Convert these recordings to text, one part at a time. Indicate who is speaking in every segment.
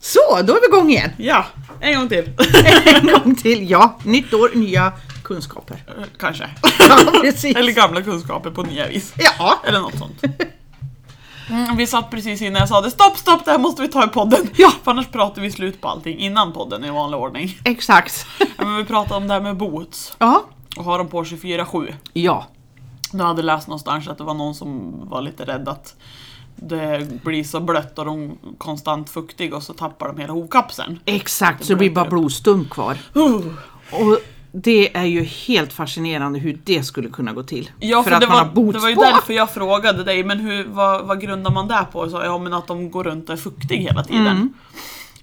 Speaker 1: Så, då är vi igång igen.
Speaker 2: Ja, en gång till.
Speaker 1: En gång till, ja. Nytt år, nya kunskaper.
Speaker 2: Kanske.
Speaker 1: Ja, precis.
Speaker 2: Eller gamla kunskaper på nya vis.
Speaker 1: Ja,
Speaker 2: Eller något sånt. Mm, vi satt precis innan jag sa det, stopp, stopp, det här måste vi ta i podden.
Speaker 1: Ja.
Speaker 2: För annars pratar vi slut på allting innan podden i vanlig ordning.
Speaker 1: exakt.
Speaker 2: Ja, Men vi pratade om det här med boots
Speaker 1: Ja.
Speaker 2: och ha dem på 24-7.
Speaker 1: Ja.
Speaker 2: Nu hade jag läst någonstans att det var någon som var lite rädd att det blir så blött och de är konstant fuktiga och så tappar de hela hovkapseln.
Speaker 1: Exakt, så det blir bara blodstump kvar.
Speaker 2: Uh.
Speaker 1: Och det är ju helt fascinerande hur det skulle kunna gå till.
Speaker 2: Ja, för,
Speaker 1: att
Speaker 2: det,
Speaker 1: man
Speaker 2: var,
Speaker 1: har boots
Speaker 2: det var ju
Speaker 1: på.
Speaker 2: därför jag frågade dig, men hur, vad, vad grundar man det på? Så, ja, men att de går runt och är fuktiga hela tiden.
Speaker 1: Mm.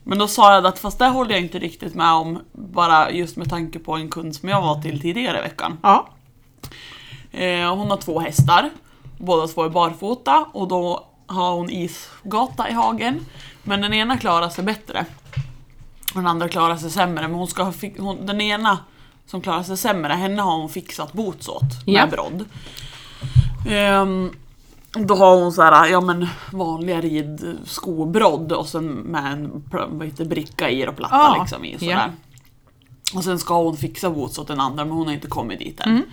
Speaker 2: Men då sa jag att fast det håller jag inte riktigt med om, bara just med tanke på en kund som jag var till tidigare i veckan.
Speaker 1: Ja.
Speaker 2: Eh, hon har två hästar, båda två är barfota och då har hon isgata i hagen. Men den ena klarar sig bättre. Och den andra klarar sig sämre, men hon ska ha fi- hon, den ena som klarar sig sämre, henne har hon fixat boots åt med
Speaker 1: Ja.
Speaker 2: brodd. Ehm, då har hon så här, ja men vanliga ridskobrodd och sen med en pl- vad heter, det, bricka i och platta
Speaker 1: Ah,
Speaker 2: liksom i.
Speaker 1: ja.
Speaker 2: Sådär. Och sen ska hon fixa boots åt den andra men hon har inte kommit dit
Speaker 1: Mm.
Speaker 2: än.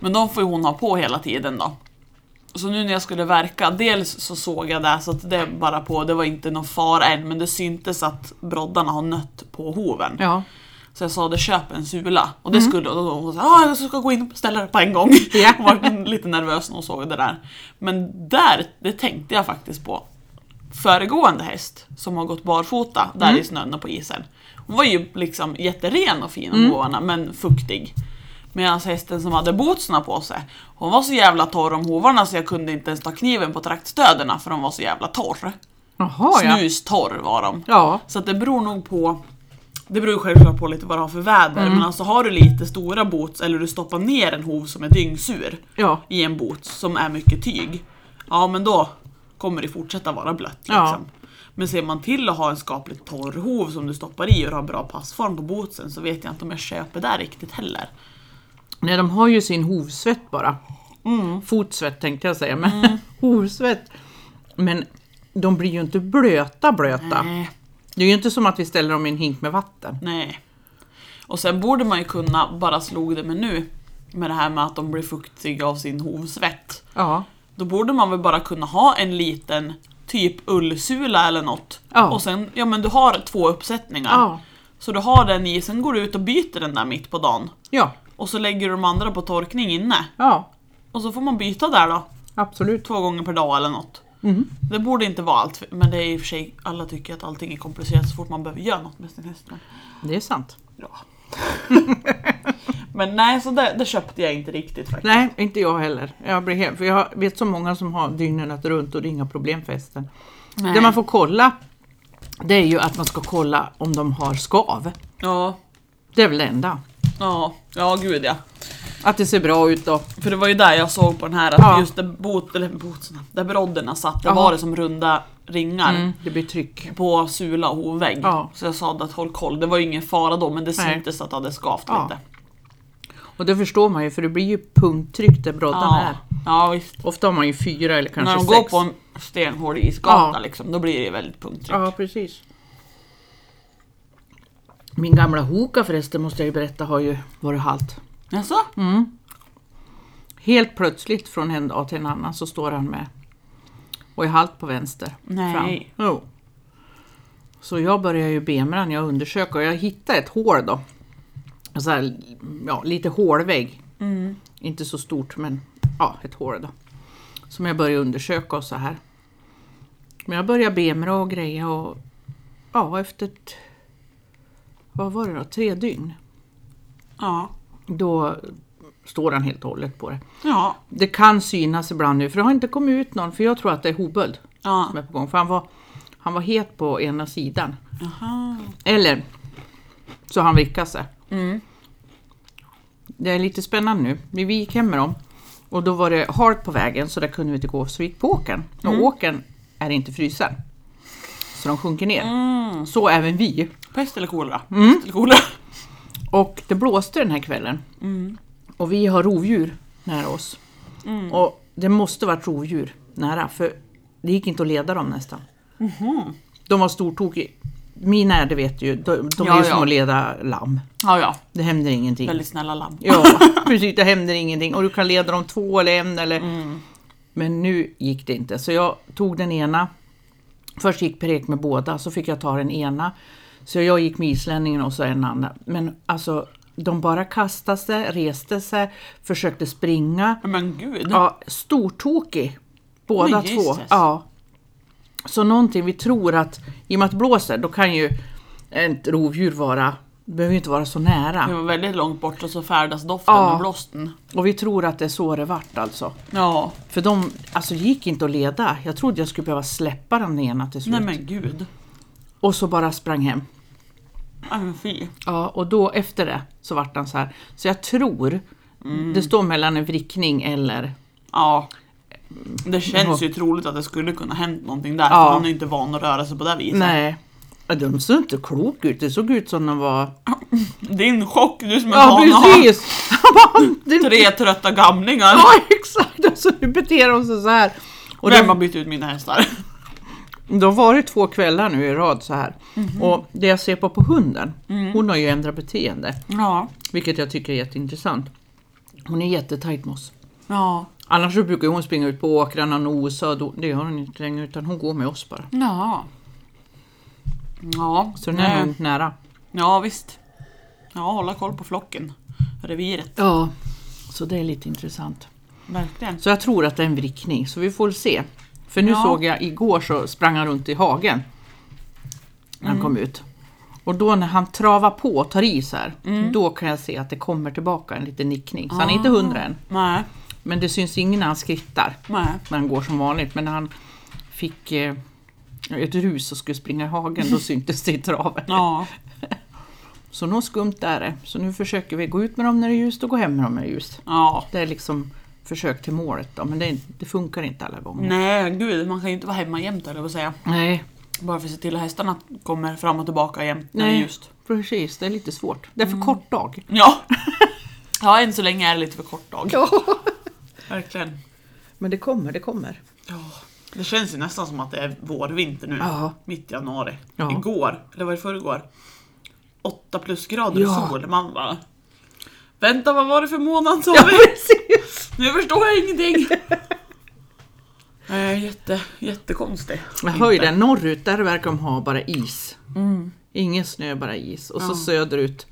Speaker 2: Men de får ju hon ha på hela tiden då. Så nu när jag skulle verka, dels så såg jag det så att det bara på, det var inte någon fara än men det syntes att broddarna har nött på hoven.
Speaker 1: ja.
Speaker 2: Så jag sa det, köp en sula. Och det skulle och då, hon sa ah, jag ska gå in och beställa det på en gång.
Speaker 1: Mm. Ja.
Speaker 2: Hon var lite nervös när hon såg det där. Men där, det tänkte jag faktiskt på. Föregående häst som har gått barfota där
Speaker 1: Mm.
Speaker 2: i snön och på isen. Hon var ju liksom jätteren och fin om
Speaker 1: Mm.
Speaker 2: hovarna men fuktig. Medan hästen som hade bootsarna på sig, hon var så jävla torr om hovarna så jag kunde inte ens ta kniven på traktstöderna för de var så jävla torr.
Speaker 1: Jaha, ja.
Speaker 2: Snustorr var de.
Speaker 1: Ja.
Speaker 2: Så att det beror nog på det beror ju självklart på lite vad du har för väder,
Speaker 1: Mm.
Speaker 2: men alltså har du lite stora boots eller du stoppar ner en hov som är dyngsur
Speaker 1: Ja.
Speaker 2: i en boots som är mycket tyg, ja men då kommer det fortsätta vara blött.
Speaker 1: Ja.
Speaker 2: Liksom. Men ser man till att ha en skapligt torr hov som du stoppar i och du har bra passform på bootsen så vet jag inte om jag köper det riktigt heller.
Speaker 1: Nej, de har ju sin hovsvett bara.
Speaker 2: Mm.
Speaker 1: Fotsvett tänkte jag säga, men hovsvett. Men de blir ju inte blöta blöta.
Speaker 2: Nej.
Speaker 1: Det är ju inte som att vi ställer dem i en hink med vatten.
Speaker 2: Nej. Och sen borde man ju kunna, bara slog det mig nu, med det här med att de blir fuktiga av sin hovsvett.
Speaker 1: Ja.
Speaker 2: Då borde man väl bara kunna ha en liten typ ullsula eller något.
Speaker 1: Ja.
Speaker 2: Och sen, ja men du har två uppsättningar.
Speaker 1: Ja.
Speaker 2: Så du har den i, sen går du ut och byter den där mitt på dagen.
Speaker 1: Ja.
Speaker 2: Och så lägger du de andra på torkning inne.
Speaker 1: Ja.
Speaker 2: Och så får man byta där då,
Speaker 1: Absolut.
Speaker 2: två gånger per dag eller något.
Speaker 1: Mhm.
Speaker 2: Det borde inte vara allt, för- men det är i och för sig, alla tycker att allting är komplicerat så fort man behöver göra något med sin häst. Men,
Speaker 1: Det är sant.
Speaker 2: ja. men nej, så det, det köpte jag inte riktigt faktiskt.
Speaker 1: Nej, inte jag heller. Jag blir helt, för jag vet så många som har dygnet runt och det är inga problem för hästen. Det man får kolla, det är ju att man ska kolla om de har skav.
Speaker 2: Ja,
Speaker 1: Det är väl det enda.
Speaker 2: ja, ja gud ja.
Speaker 1: Att det ser bra ut då.
Speaker 2: För det var ju där jag såg på den här att
Speaker 1: Ja.
Speaker 2: just där, bot, eller botsarna, där brodderna satt, där
Speaker 1: Jaha.
Speaker 2: var det som runda ringar
Speaker 1: Mm, det blir tryck.
Speaker 2: på sula och hovvägg.
Speaker 1: Ja.
Speaker 2: Så jag sa att håll koll, det var ju ingen fara då men det
Speaker 1: Nej.
Speaker 2: syntes att det hade skavt
Speaker 1: Ja.
Speaker 2: lite.
Speaker 1: Och det förstår man ju för det blir ju punkttryck där broddan
Speaker 2: Ja.
Speaker 1: är.
Speaker 2: ja visst.
Speaker 1: Ofta har man ju fyra eller kanske
Speaker 2: När de
Speaker 1: sex.
Speaker 2: går på en stenhård isgata
Speaker 1: Ja.
Speaker 2: liksom, då blir det väldigt punkttryck.
Speaker 1: Ja, precis. Min gamla hoka förresten måste jag ju berätta har ju varit halt.
Speaker 2: Jaså?
Speaker 1: Helt plötsligt från en dag till en annan så står han med och är halt på vänster.
Speaker 2: Nej.
Speaker 1: Fram. Jo. Så jag börjar ju bemran, jag undersöker och jag hittar ett hål då. Så här, ja, lite hålvägg.
Speaker 2: Mm.
Speaker 1: Inte så stort men ja, ett hål då. Som jag börjar undersöka och så här. Men jag börjar bemra och greja och ja, efter ett, vad var det då, tre dygn.
Speaker 2: Ja.
Speaker 1: Då står han helt och hållet på det.
Speaker 2: Ja.
Speaker 1: Det kan synas ibland nu, för det har inte kommit ut någon, för jag tror att det är Hoböld
Speaker 2: Ja.
Speaker 1: som är på gång. För han var, han var het på ena sidan.
Speaker 2: Jaha.
Speaker 1: Eller så har han vrickat sig.
Speaker 2: Mm.
Speaker 1: Det är lite spännande nu. Vi vi gick hem med dem och då var det halt på vägen så där kunde vi inte gå, så vi gick på åkern. Och
Speaker 2: Mm.
Speaker 1: åkern är inte frusen. Så de sjunker ner.
Speaker 2: Mm.
Speaker 1: Så även vi.
Speaker 2: Pest eller kolera?
Speaker 1: Mm.
Speaker 2: Pest eller kolera?
Speaker 1: Och det blåste den här kvällen.
Speaker 2: Mm.
Speaker 1: Och vi har rovdjur nära oss. Och det måste varit
Speaker 2: Mhm.
Speaker 1: rovdjur nära, för det gick inte att leda dem nästan. De var stortokiga. mina är, det vet du ju, de, de
Speaker 2: Ja,
Speaker 1: är ju
Speaker 2: ja.
Speaker 1: som att leda lamm.
Speaker 2: Ja, ja.
Speaker 1: Det händer ingenting.
Speaker 2: Mm. Väldigt snälla lamm.
Speaker 1: Ja, precis. Det händer ingenting. Och du kan leda dem två eller en. Eller...
Speaker 2: Mm.
Speaker 1: Men nu gick det inte. Så jag tog den ena. Först gick Perek med båda, så fick jag ta den ena. Så jag gick med islänningen och så den andra. Men alltså, de bara kastade sig, reste sig, försökte springa.
Speaker 2: Men gud.
Speaker 1: Ja, stortokig. Båda
Speaker 2: Oj,
Speaker 1: två.
Speaker 2: Jesus.
Speaker 1: Ja. Så någonting vi tror att, i och med att det blåser, då kan ju ett rovdjur vara, behöver ju inte vara så nära.
Speaker 2: Det var väldigt långt bort och så färdas doften
Speaker 1: Ja.
Speaker 2: och blåsten.
Speaker 1: Och vi tror att det är så det vart alltså.
Speaker 2: Ja,
Speaker 1: För de, alltså det gick inte att leda. Jag trodde jag skulle behöva släppa den ena till slut.
Speaker 2: nej men gud.
Speaker 1: Och så bara sprang hem.
Speaker 2: Nej men fy.
Speaker 1: Ja, och då efter det så vart han så här. Så jag tror,
Speaker 2: Mm.
Speaker 1: det står mellan en vrickning eller...
Speaker 2: Ja. Det känns ju troligt att det skulle kunna hänt någonting där.
Speaker 1: Ja.
Speaker 2: För han är ju inte van att röra sig på det viset.
Speaker 1: Nej. Ja, De såg inte klok ut, det såg ut som de var...
Speaker 2: Din chock, du som är
Speaker 1: Ja,
Speaker 2: van att ha
Speaker 1: precis! Han bara, det-
Speaker 2: tre trötta gamlingar.
Speaker 1: Ja, exakt! Alltså nu beter de sig så här. Och
Speaker 2: Vem
Speaker 1: de,
Speaker 2: har bytt ut mina hästar?
Speaker 1: de har varit två kvällar nu i rad så här.
Speaker 2: Mhm.
Speaker 1: Och det jag ser på på hunden,
Speaker 2: Mm.
Speaker 1: hon har ju ändrat beteende.
Speaker 2: Ja.
Speaker 1: Vilket jag tycker är jätteintressant. Hon är jättetajt med oss.
Speaker 2: Ja.
Speaker 1: Annars så brukar ju hon springa ut på åkrarna och nosa och då, det gör hon inte längre utan hon går med oss bara.
Speaker 2: Ja. Ja.
Speaker 1: Så den är
Speaker 2: nej.
Speaker 1: hon nära.
Speaker 2: Ja visst. Ja, hålla koll på flocken. Reviret.
Speaker 1: Ja. Så det är lite intressant.
Speaker 2: Verkligen.
Speaker 1: Så jag tror att det är en vrickning, så vi får väl se. För nu
Speaker 2: Ja.
Speaker 1: såg jag igår så sprang han runt i hagen. När han kom ut. Och då när han travar på och tar i så här, då kan jag se att det kommer tillbaka en liten nickning. Så han är inte hundra än.
Speaker 2: Nej.
Speaker 1: Men det syns ingen när han skrittar.
Speaker 2: Nej.
Speaker 1: när han går som vanligt. Men när han fick eh, ett rus och skulle springa i hagen, då syntes det i traven.
Speaker 2: Ja.
Speaker 1: Så något skumt är det. Så nu försöker vi gå ut med dem när det är ljust och gå hem med dem när det är ljust.
Speaker 2: Ja.
Speaker 1: Det är liksom försök till målet då, men det, det funkar inte alla gånger.
Speaker 2: Nej, gud. Man kan ju inte vara hemma jämt eller vad säga.
Speaker 1: Nej,
Speaker 2: Bara för att se till att hästarna kommer fram och tillbaka jämt när det
Speaker 1: Nej.
Speaker 2: är ljust.
Speaker 1: precis. Det är lite svårt. Det är
Speaker 2: Mm.
Speaker 1: för kort dag.
Speaker 2: Ja. Ja, än så länge är det lite för kort dag. Verkligen.
Speaker 1: Men det kommer, det kommer.
Speaker 2: Ja. Det känns ju nästan som att det är vårvinter nu.
Speaker 1: Ja.
Speaker 2: Mitt i januari.
Speaker 1: Ja.
Speaker 2: Igår, eller var det förrgår? 8 plusgrader
Speaker 1: Ja.
Speaker 2: sol. Man bara... Vänta, vad var det för månad sa
Speaker 1: Ja,
Speaker 2: vi?
Speaker 1: precis.
Speaker 2: Nu förstår jag ingenting! Nej, jätte, jättekonstig.
Speaker 1: Men höjden norrut, där verkar de ha bara is. Ingen snö, bara is. Och så
Speaker 2: Mm. Ja.
Speaker 1: söderut,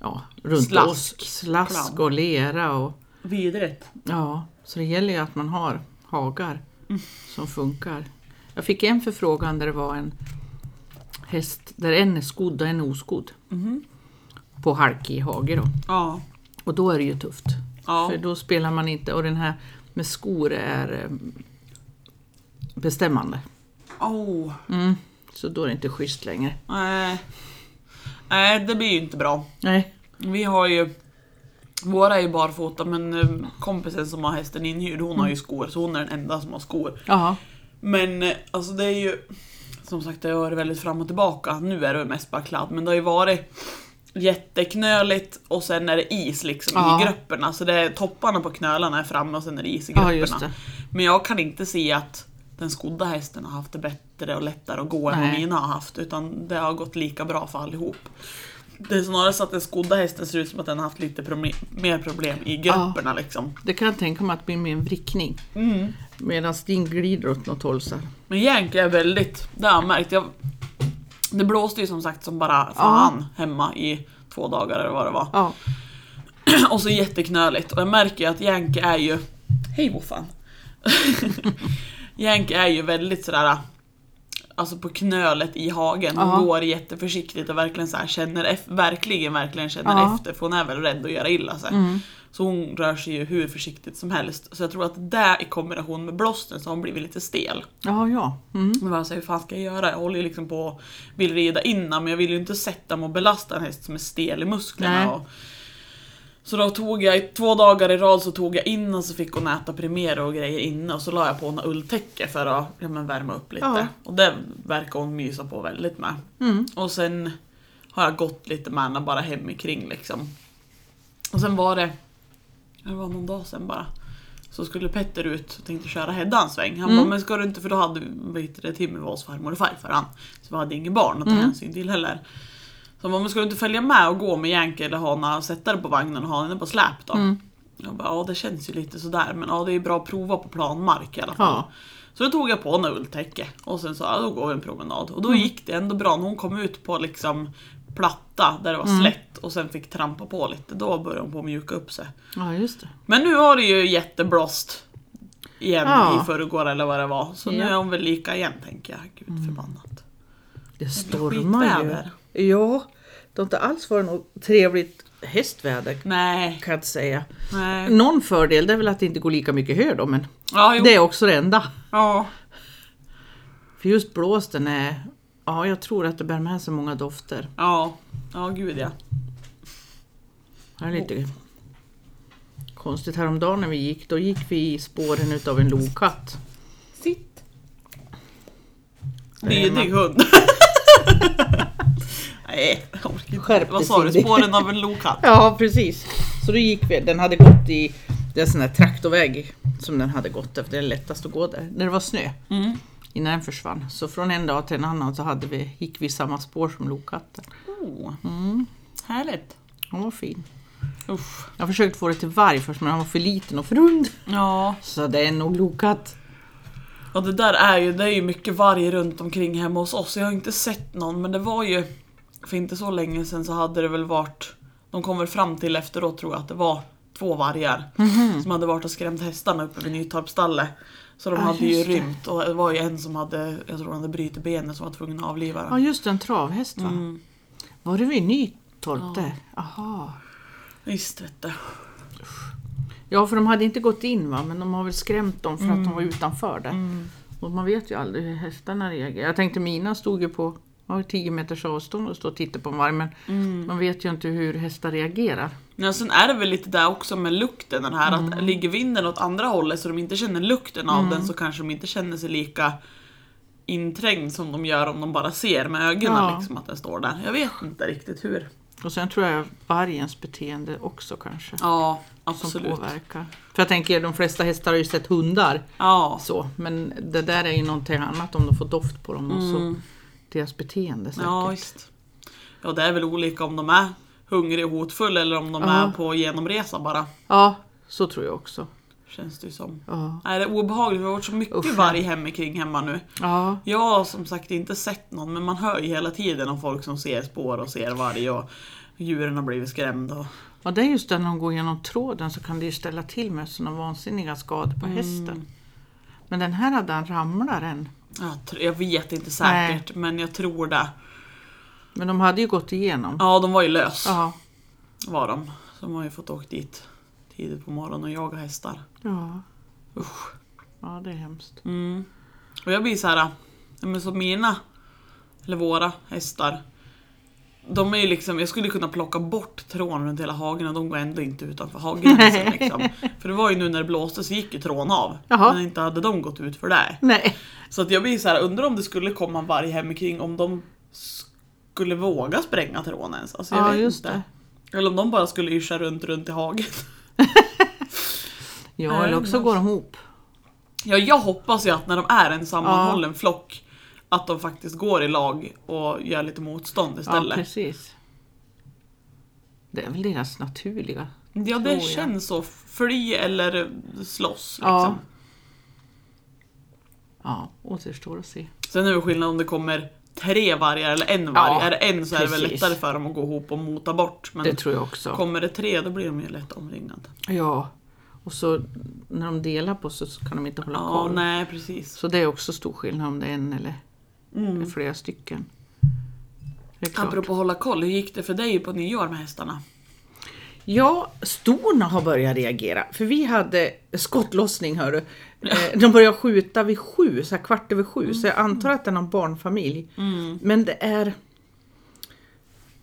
Speaker 1: ja, runt
Speaker 2: Slask.
Speaker 1: oss, slask
Speaker 2: Kladd.
Speaker 1: och lera och
Speaker 2: Vidrigt.
Speaker 1: Ja, så det gäller ju att man har hagar som funkar. Jag fick en förfrågan där det var en häst där en är skodd och en är oskodd. På halkig hage då.
Speaker 2: Ja.
Speaker 1: Och då är det ju tufft.
Speaker 2: Ja.
Speaker 1: För då spelar man inte, och den här med skor är eh, bestämmande. Mm.
Speaker 2: Oh.
Speaker 1: Så då är det inte schysst längre.
Speaker 2: Nej. Nej, det blir ju inte bra.
Speaker 1: Nej.
Speaker 2: Vi har ju... Våra är ju barfota men eh, kompisen som har hästen inhyrd hon
Speaker 1: Mm.
Speaker 2: har ju skor så hon är den enda som har skor.
Speaker 1: Ja.
Speaker 2: Men eh, alltså det är ju... Som sagt det har varit väldigt fram och tillbaka. Nu är det mest bara kladd men det har ju varit jätteknöligt och sen är det is liksom
Speaker 1: Ja.
Speaker 2: i grupperna. Så det är, topparna på knölarna är framme och sen är det is i
Speaker 1: Ja,
Speaker 2: grupperna.
Speaker 1: just det.
Speaker 2: Men jag kan inte se att den skodda hästen har haft det bättre och lättare att gå än vad
Speaker 1: Nej.
Speaker 2: mina har haft. Utan det har gått lika bra för allihop. Det är snarare så att den skodda hästen ser ut som att den har haft lite proble- mer problem i grupperna liksom.
Speaker 1: Det kan jag tänka mig att bli med en vrickning. Medan din glider åt något håll så här.
Speaker 2: Men Yankee är väldigt, det har jag märkt. Jag, det blåste ju som sagt som bara fan hemma i två dagar eller vad det var.
Speaker 1: Ja.
Speaker 2: Och så jätteknöligt. Och jag märker ju att Yankee är ju... Hej Woffan! Yankee är ju väldigt sådär... Alltså på knölet i hagen. Hon
Speaker 1: Ja.
Speaker 2: går jätteförsiktigt och verkligen så här känner ef- verkligen, verkligen känner
Speaker 1: Ja. Mm.
Speaker 2: efter. För hon är väl rädd att göra illa sig. Så hon rör sig ju hur försiktigt som helst. Så jag tror att det i kombination med blåsten så har hon blivit lite stel.
Speaker 1: Ja, ja. Mm.
Speaker 2: Men bara så här, hur fan ska jag göra? Jag håller ju liksom på och vill rida innan men jag vill ju inte sätta mig och belasta en häst som är stel i
Speaker 1: Nej.
Speaker 2: musklerna. Och... Så då tog jag, i två dagar i rad så tog jag in och så fick hon äta Primera och grejer inne och så la jag på henne ulltäcke för att ja, men värma upp lite.
Speaker 1: Ja.
Speaker 2: Och det verkar hon mysa på väldigt med.
Speaker 1: Mm.
Speaker 2: Och sen har jag gått lite med henne bara hemikring liksom. Och sen var det, det var någon dag sen bara. Så skulle Petter ut och tänkte köra Hedda en sväng. Han bara, men ska du inte för då hade vad heter det, Timmy var hos farmor och farfar han. Så vi hade inget barn att ta hänsyn till heller. Så han bara, men ska du inte följa med och gå med Jänke eller Hana och sätta dig på vagnen och ha henne på släp då? Jag bara, ja det känns ju lite sådär men ja det är ju bra att prova på planmark i alla fall.
Speaker 1: Ja.
Speaker 2: Så då tog jag på henne ulltäcke och sen sa jag då går vi en promenad. Och då gick det ändå bra när hon kom ut på liksom platta där det var slätt och sen fick trampa på lite. Då började hon på att mjuka upp sig.
Speaker 1: ja, just det.
Speaker 2: Men nu har det ju jätteblåst igen
Speaker 1: Ja.
Speaker 2: i förrgår eller vad det var. Så nu
Speaker 1: Ja.
Speaker 2: är hon väl lika igen tänker jag. Gud förbannat.
Speaker 1: Det stormar
Speaker 2: skitväder.
Speaker 1: ju. Ja, det har inte alls varit något trevligt hästväder
Speaker 2: Nej,
Speaker 1: kan jag inte säga.
Speaker 2: nej.
Speaker 1: Någon fördel det är väl att det inte går lika mycket hö då, men
Speaker 2: Ja, jo.
Speaker 1: Mm. det är också det enda.
Speaker 2: ja.
Speaker 1: För just blåsten är, ja jag tror att det bär med sig många dofter.
Speaker 2: ja. Ja, gud ja.
Speaker 1: Det är lite konstigt. Häromdagen när vi gick, då gick vi i spåren utav en lokatt.
Speaker 2: Sitt. Det är
Speaker 1: Emma.
Speaker 2: din hund. Nej, jag orkar inte.
Speaker 1: Skärp
Speaker 2: Vad
Speaker 1: dig,
Speaker 2: sa du?
Speaker 1: Cindy.
Speaker 2: Spåren av en lokatt?
Speaker 1: Ja, precis. Så då gick vi, den hade gått i, det är en sån där traktorväg som den hade gått efter, det är lättast att gå där, när det var snö.
Speaker 2: Mm.
Speaker 1: Innan den försvann. Så från en dag till en annan så hade vi, gick vi i samma spår som lokatten.
Speaker 2: Oh,
Speaker 1: Mm,
Speaker 2: härligt.
Speaker 1: hon var fin.
Speaker 2: Usch.
Speaker 1: Jag försökte få det till varg först men han var för liten och för rund.
Speaker 2: Ja,
Speaker 1: Så det är nog lokatt.
Speaker 2: och det där är ju, det är ju mycket varg runt omkring hemma hos oss. Jag har inte sett någon, men det var ju för inte så länge sedan så hade det väl varit, de kom väl fram till efteråt tror jag att det var två vargar som hade varit och skrämt hästarna uppe vid Nytorpsstallet. Så de
Speaker 1: Mhm. Ja,
Speaker 2: hade ju
Speaker 1: just det.
Speaker 2: rymt och det var ju en som hade, jag tror han hade brutit benet som var tvungen att avliva den.
Speaker 1: Ja just det, en travhäst va?
Speaker 2: Mm.
Speaker 1: Var det vid Nytorp
Speaker 2: Ja.
Speaker 1: där? Aha.
Speaker 2: Visst vet du.
Speaker 1: Ja för de hade inte gått in va, men de har väl skrämt dem för att
Speaker 2: Mm.
Speaker 1: de var utanför där. Och man vet ju aldrig hur hästarna reagerar. Jag tänkte mina stod ju på ja, 10 meters avstånd och stod och tittade på en varg men
Speaker 2: Mm.
Speaker 1: man vet ju inte hur hästar reagerar.
Speaker 2: Men sen är det väl lite där också med lukten den här
Speaker 1: Mm.
Speaker 2: att ligger vinden åt andra hållet så de inte känner lukten av den så kanske de inte känner sig lika inträngd som de gör om de bara ser med ögonen
Speaker 1: Ja.
Speaker 2: liksom att den står där. Jag vet inte riktigt hur.
Speaker 1: Och sen tror jag vargens beteende också kanske.
Speaker 2: Ja,
Speaker 1: som
Speaker 2: absolut.
Speaker 1: påverkar. För jag tänker, de flesta hästar har ju sett hundar.
Speaker 2: Ja,
Speaker 1: Så, men det där är ju någonting annat om de får doft på dem och så
Speaker 2: Mm.
Speaker 1: deras beteende säkert.
Speaker 2: ja visst. Ja, det är väl olika om de är hungriga och hotfulla eller om de
Speaker 1: Ja.
Speaker 2: är på genomresa bara.
Speaker 1: Ja, så tror jag också.
Speaker 2: Känns det ju som.
Speaker 1: Ja.
Speaker 2: Är det obehagligt? Vi har varit så mycket
Speaker 1: Usch, ja.
Speaker 2: varg hemma kring hemma nu.
Speaker 1: Ja.
Speaker 2: Jag har som sagt inte sett någon men man hör ju hela tiden om folk som ser spår och ser varg och djuren har blivit skrämda. och-
Speaker 1: ja, det är just det när de går genom tråden så kan det ju ställa till med sådana vansinniga skador
Speaker 2: Mm.
Speaker 1: på hästen. Men den här hade han ramlaren.
Speaker 2: Jag, tr- jag vet inte säkert men jag tror det.
Speaker 1: Men de hade ju gått igenom.
Speaker 2: Ja de var ju lös
Speaker 1: Ja.
Speaker 2: var de. Så de har ju fått åka dit tidigt på morgonen och jaga hästar.
Speaker 1: Ja,
Speaker 2: Usch.
Speaker 1: ja det är hemskt.
Speaker 2: Mm. Och jag blir så här, ja, men som mina, eller våra hästar. De är ju liksom, jag skulle kunna plocka bort trån runt hela hagen och de går ändå inte utanför hagen. liksom. För det var ju nu när det blåste så gick ju trån av.
Speaker 1: Jaha.
Speaker 2: Men inte hade de gått ut för det.
Speaker 1: Nej.
Speaker 2: Så att jag blir så här, undrar om det skulle komma en varg hemkring om de skulle våga spränga trån ens. Alltså, jag
Speaker 1: Ja,
Speaker 2: vet
Speaker 1: just
Speaker 2: inte. Eller om de bara skulle yrsa runt, runt i hagen.
Speaker 1: Ja,
Speaker 2: Nej,
Speaker 1: eller också går de ihop.
Speaker 2: Ja, jag hoppas ju att när de är en sammanhållen flock att de faktiskt går i lag och gör lite motstånd
Speaker 1: Ja,
Speaker 2: istället.
Speaker 1: precis. Det är väl deras naturliga.
Speaker 2: Ja,
Speaker 1: tror
Speaker 2: det
Speaker 1: jag.
Speaker 2: känns så. Fly eller slåss. Liksom.
Speaker 1: Ja. Ja, återstår att se.
Speaker 2: Sen är det skillnad om det kommer tre vargar eller en varg.
Speaker 1: Ja,
Speaker 2: är det en så är det väl
Speaker 1: precis.
Speaker 2: lättare för dem att gå ihop och mota bort. Men
Speaker 1: Det tror jag också.
Speaker 2: kommer det tre då blir de ju lätt omringade.
Speaker 1: Ja, och så när de delar på sig så kan de inte hålla
Speaker 2: Ja,
Speaker 1: koll.
Speaker 2: nej precis.
Speaker 1: Så det är också stor skillnad om det är en eller
Speaker 2: Mm.
Speaker 1: flera stycken. Det är klart.
Speaker 2: Apropå hålla koll, hur gick det för dig på nyår med hästarna?
Speaker 1: Ja, storna har börjat reagera. För vi hade skottlossning hörru. Eh, De började skjuta vid sju, så här kvart över sju. Så jag antar att det är någon barnfamilj. Men det är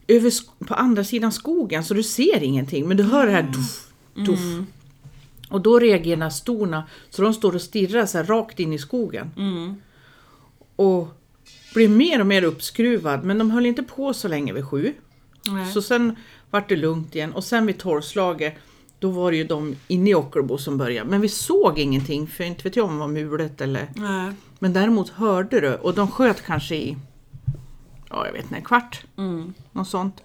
Speaker 1: över, sk- på andra sidan skogen så du ser ingenting. Men du hör det här tuff, tuff. Och då reagerar storna så de står och stirrar så här rakt in i skogen. Och blir mer och mer uppskruvad. Men de höll inte på så länge vid sju.
Speaker 2: Nej.
Speaker 1: Så sen vart det lugnt igen och sen vid tolvslaget Då var det ju de inne i Ockelbo som började. Men vi såg ingenting för inte vet jag om det var mulet eller...
Speaker 2: Nej.
Speaker 1: Men däremot hörde du och de sköt kanske i... Ja, jag vet inte, en kvart.
Speaker 2: Mm.
Speaker 1: Något sånt.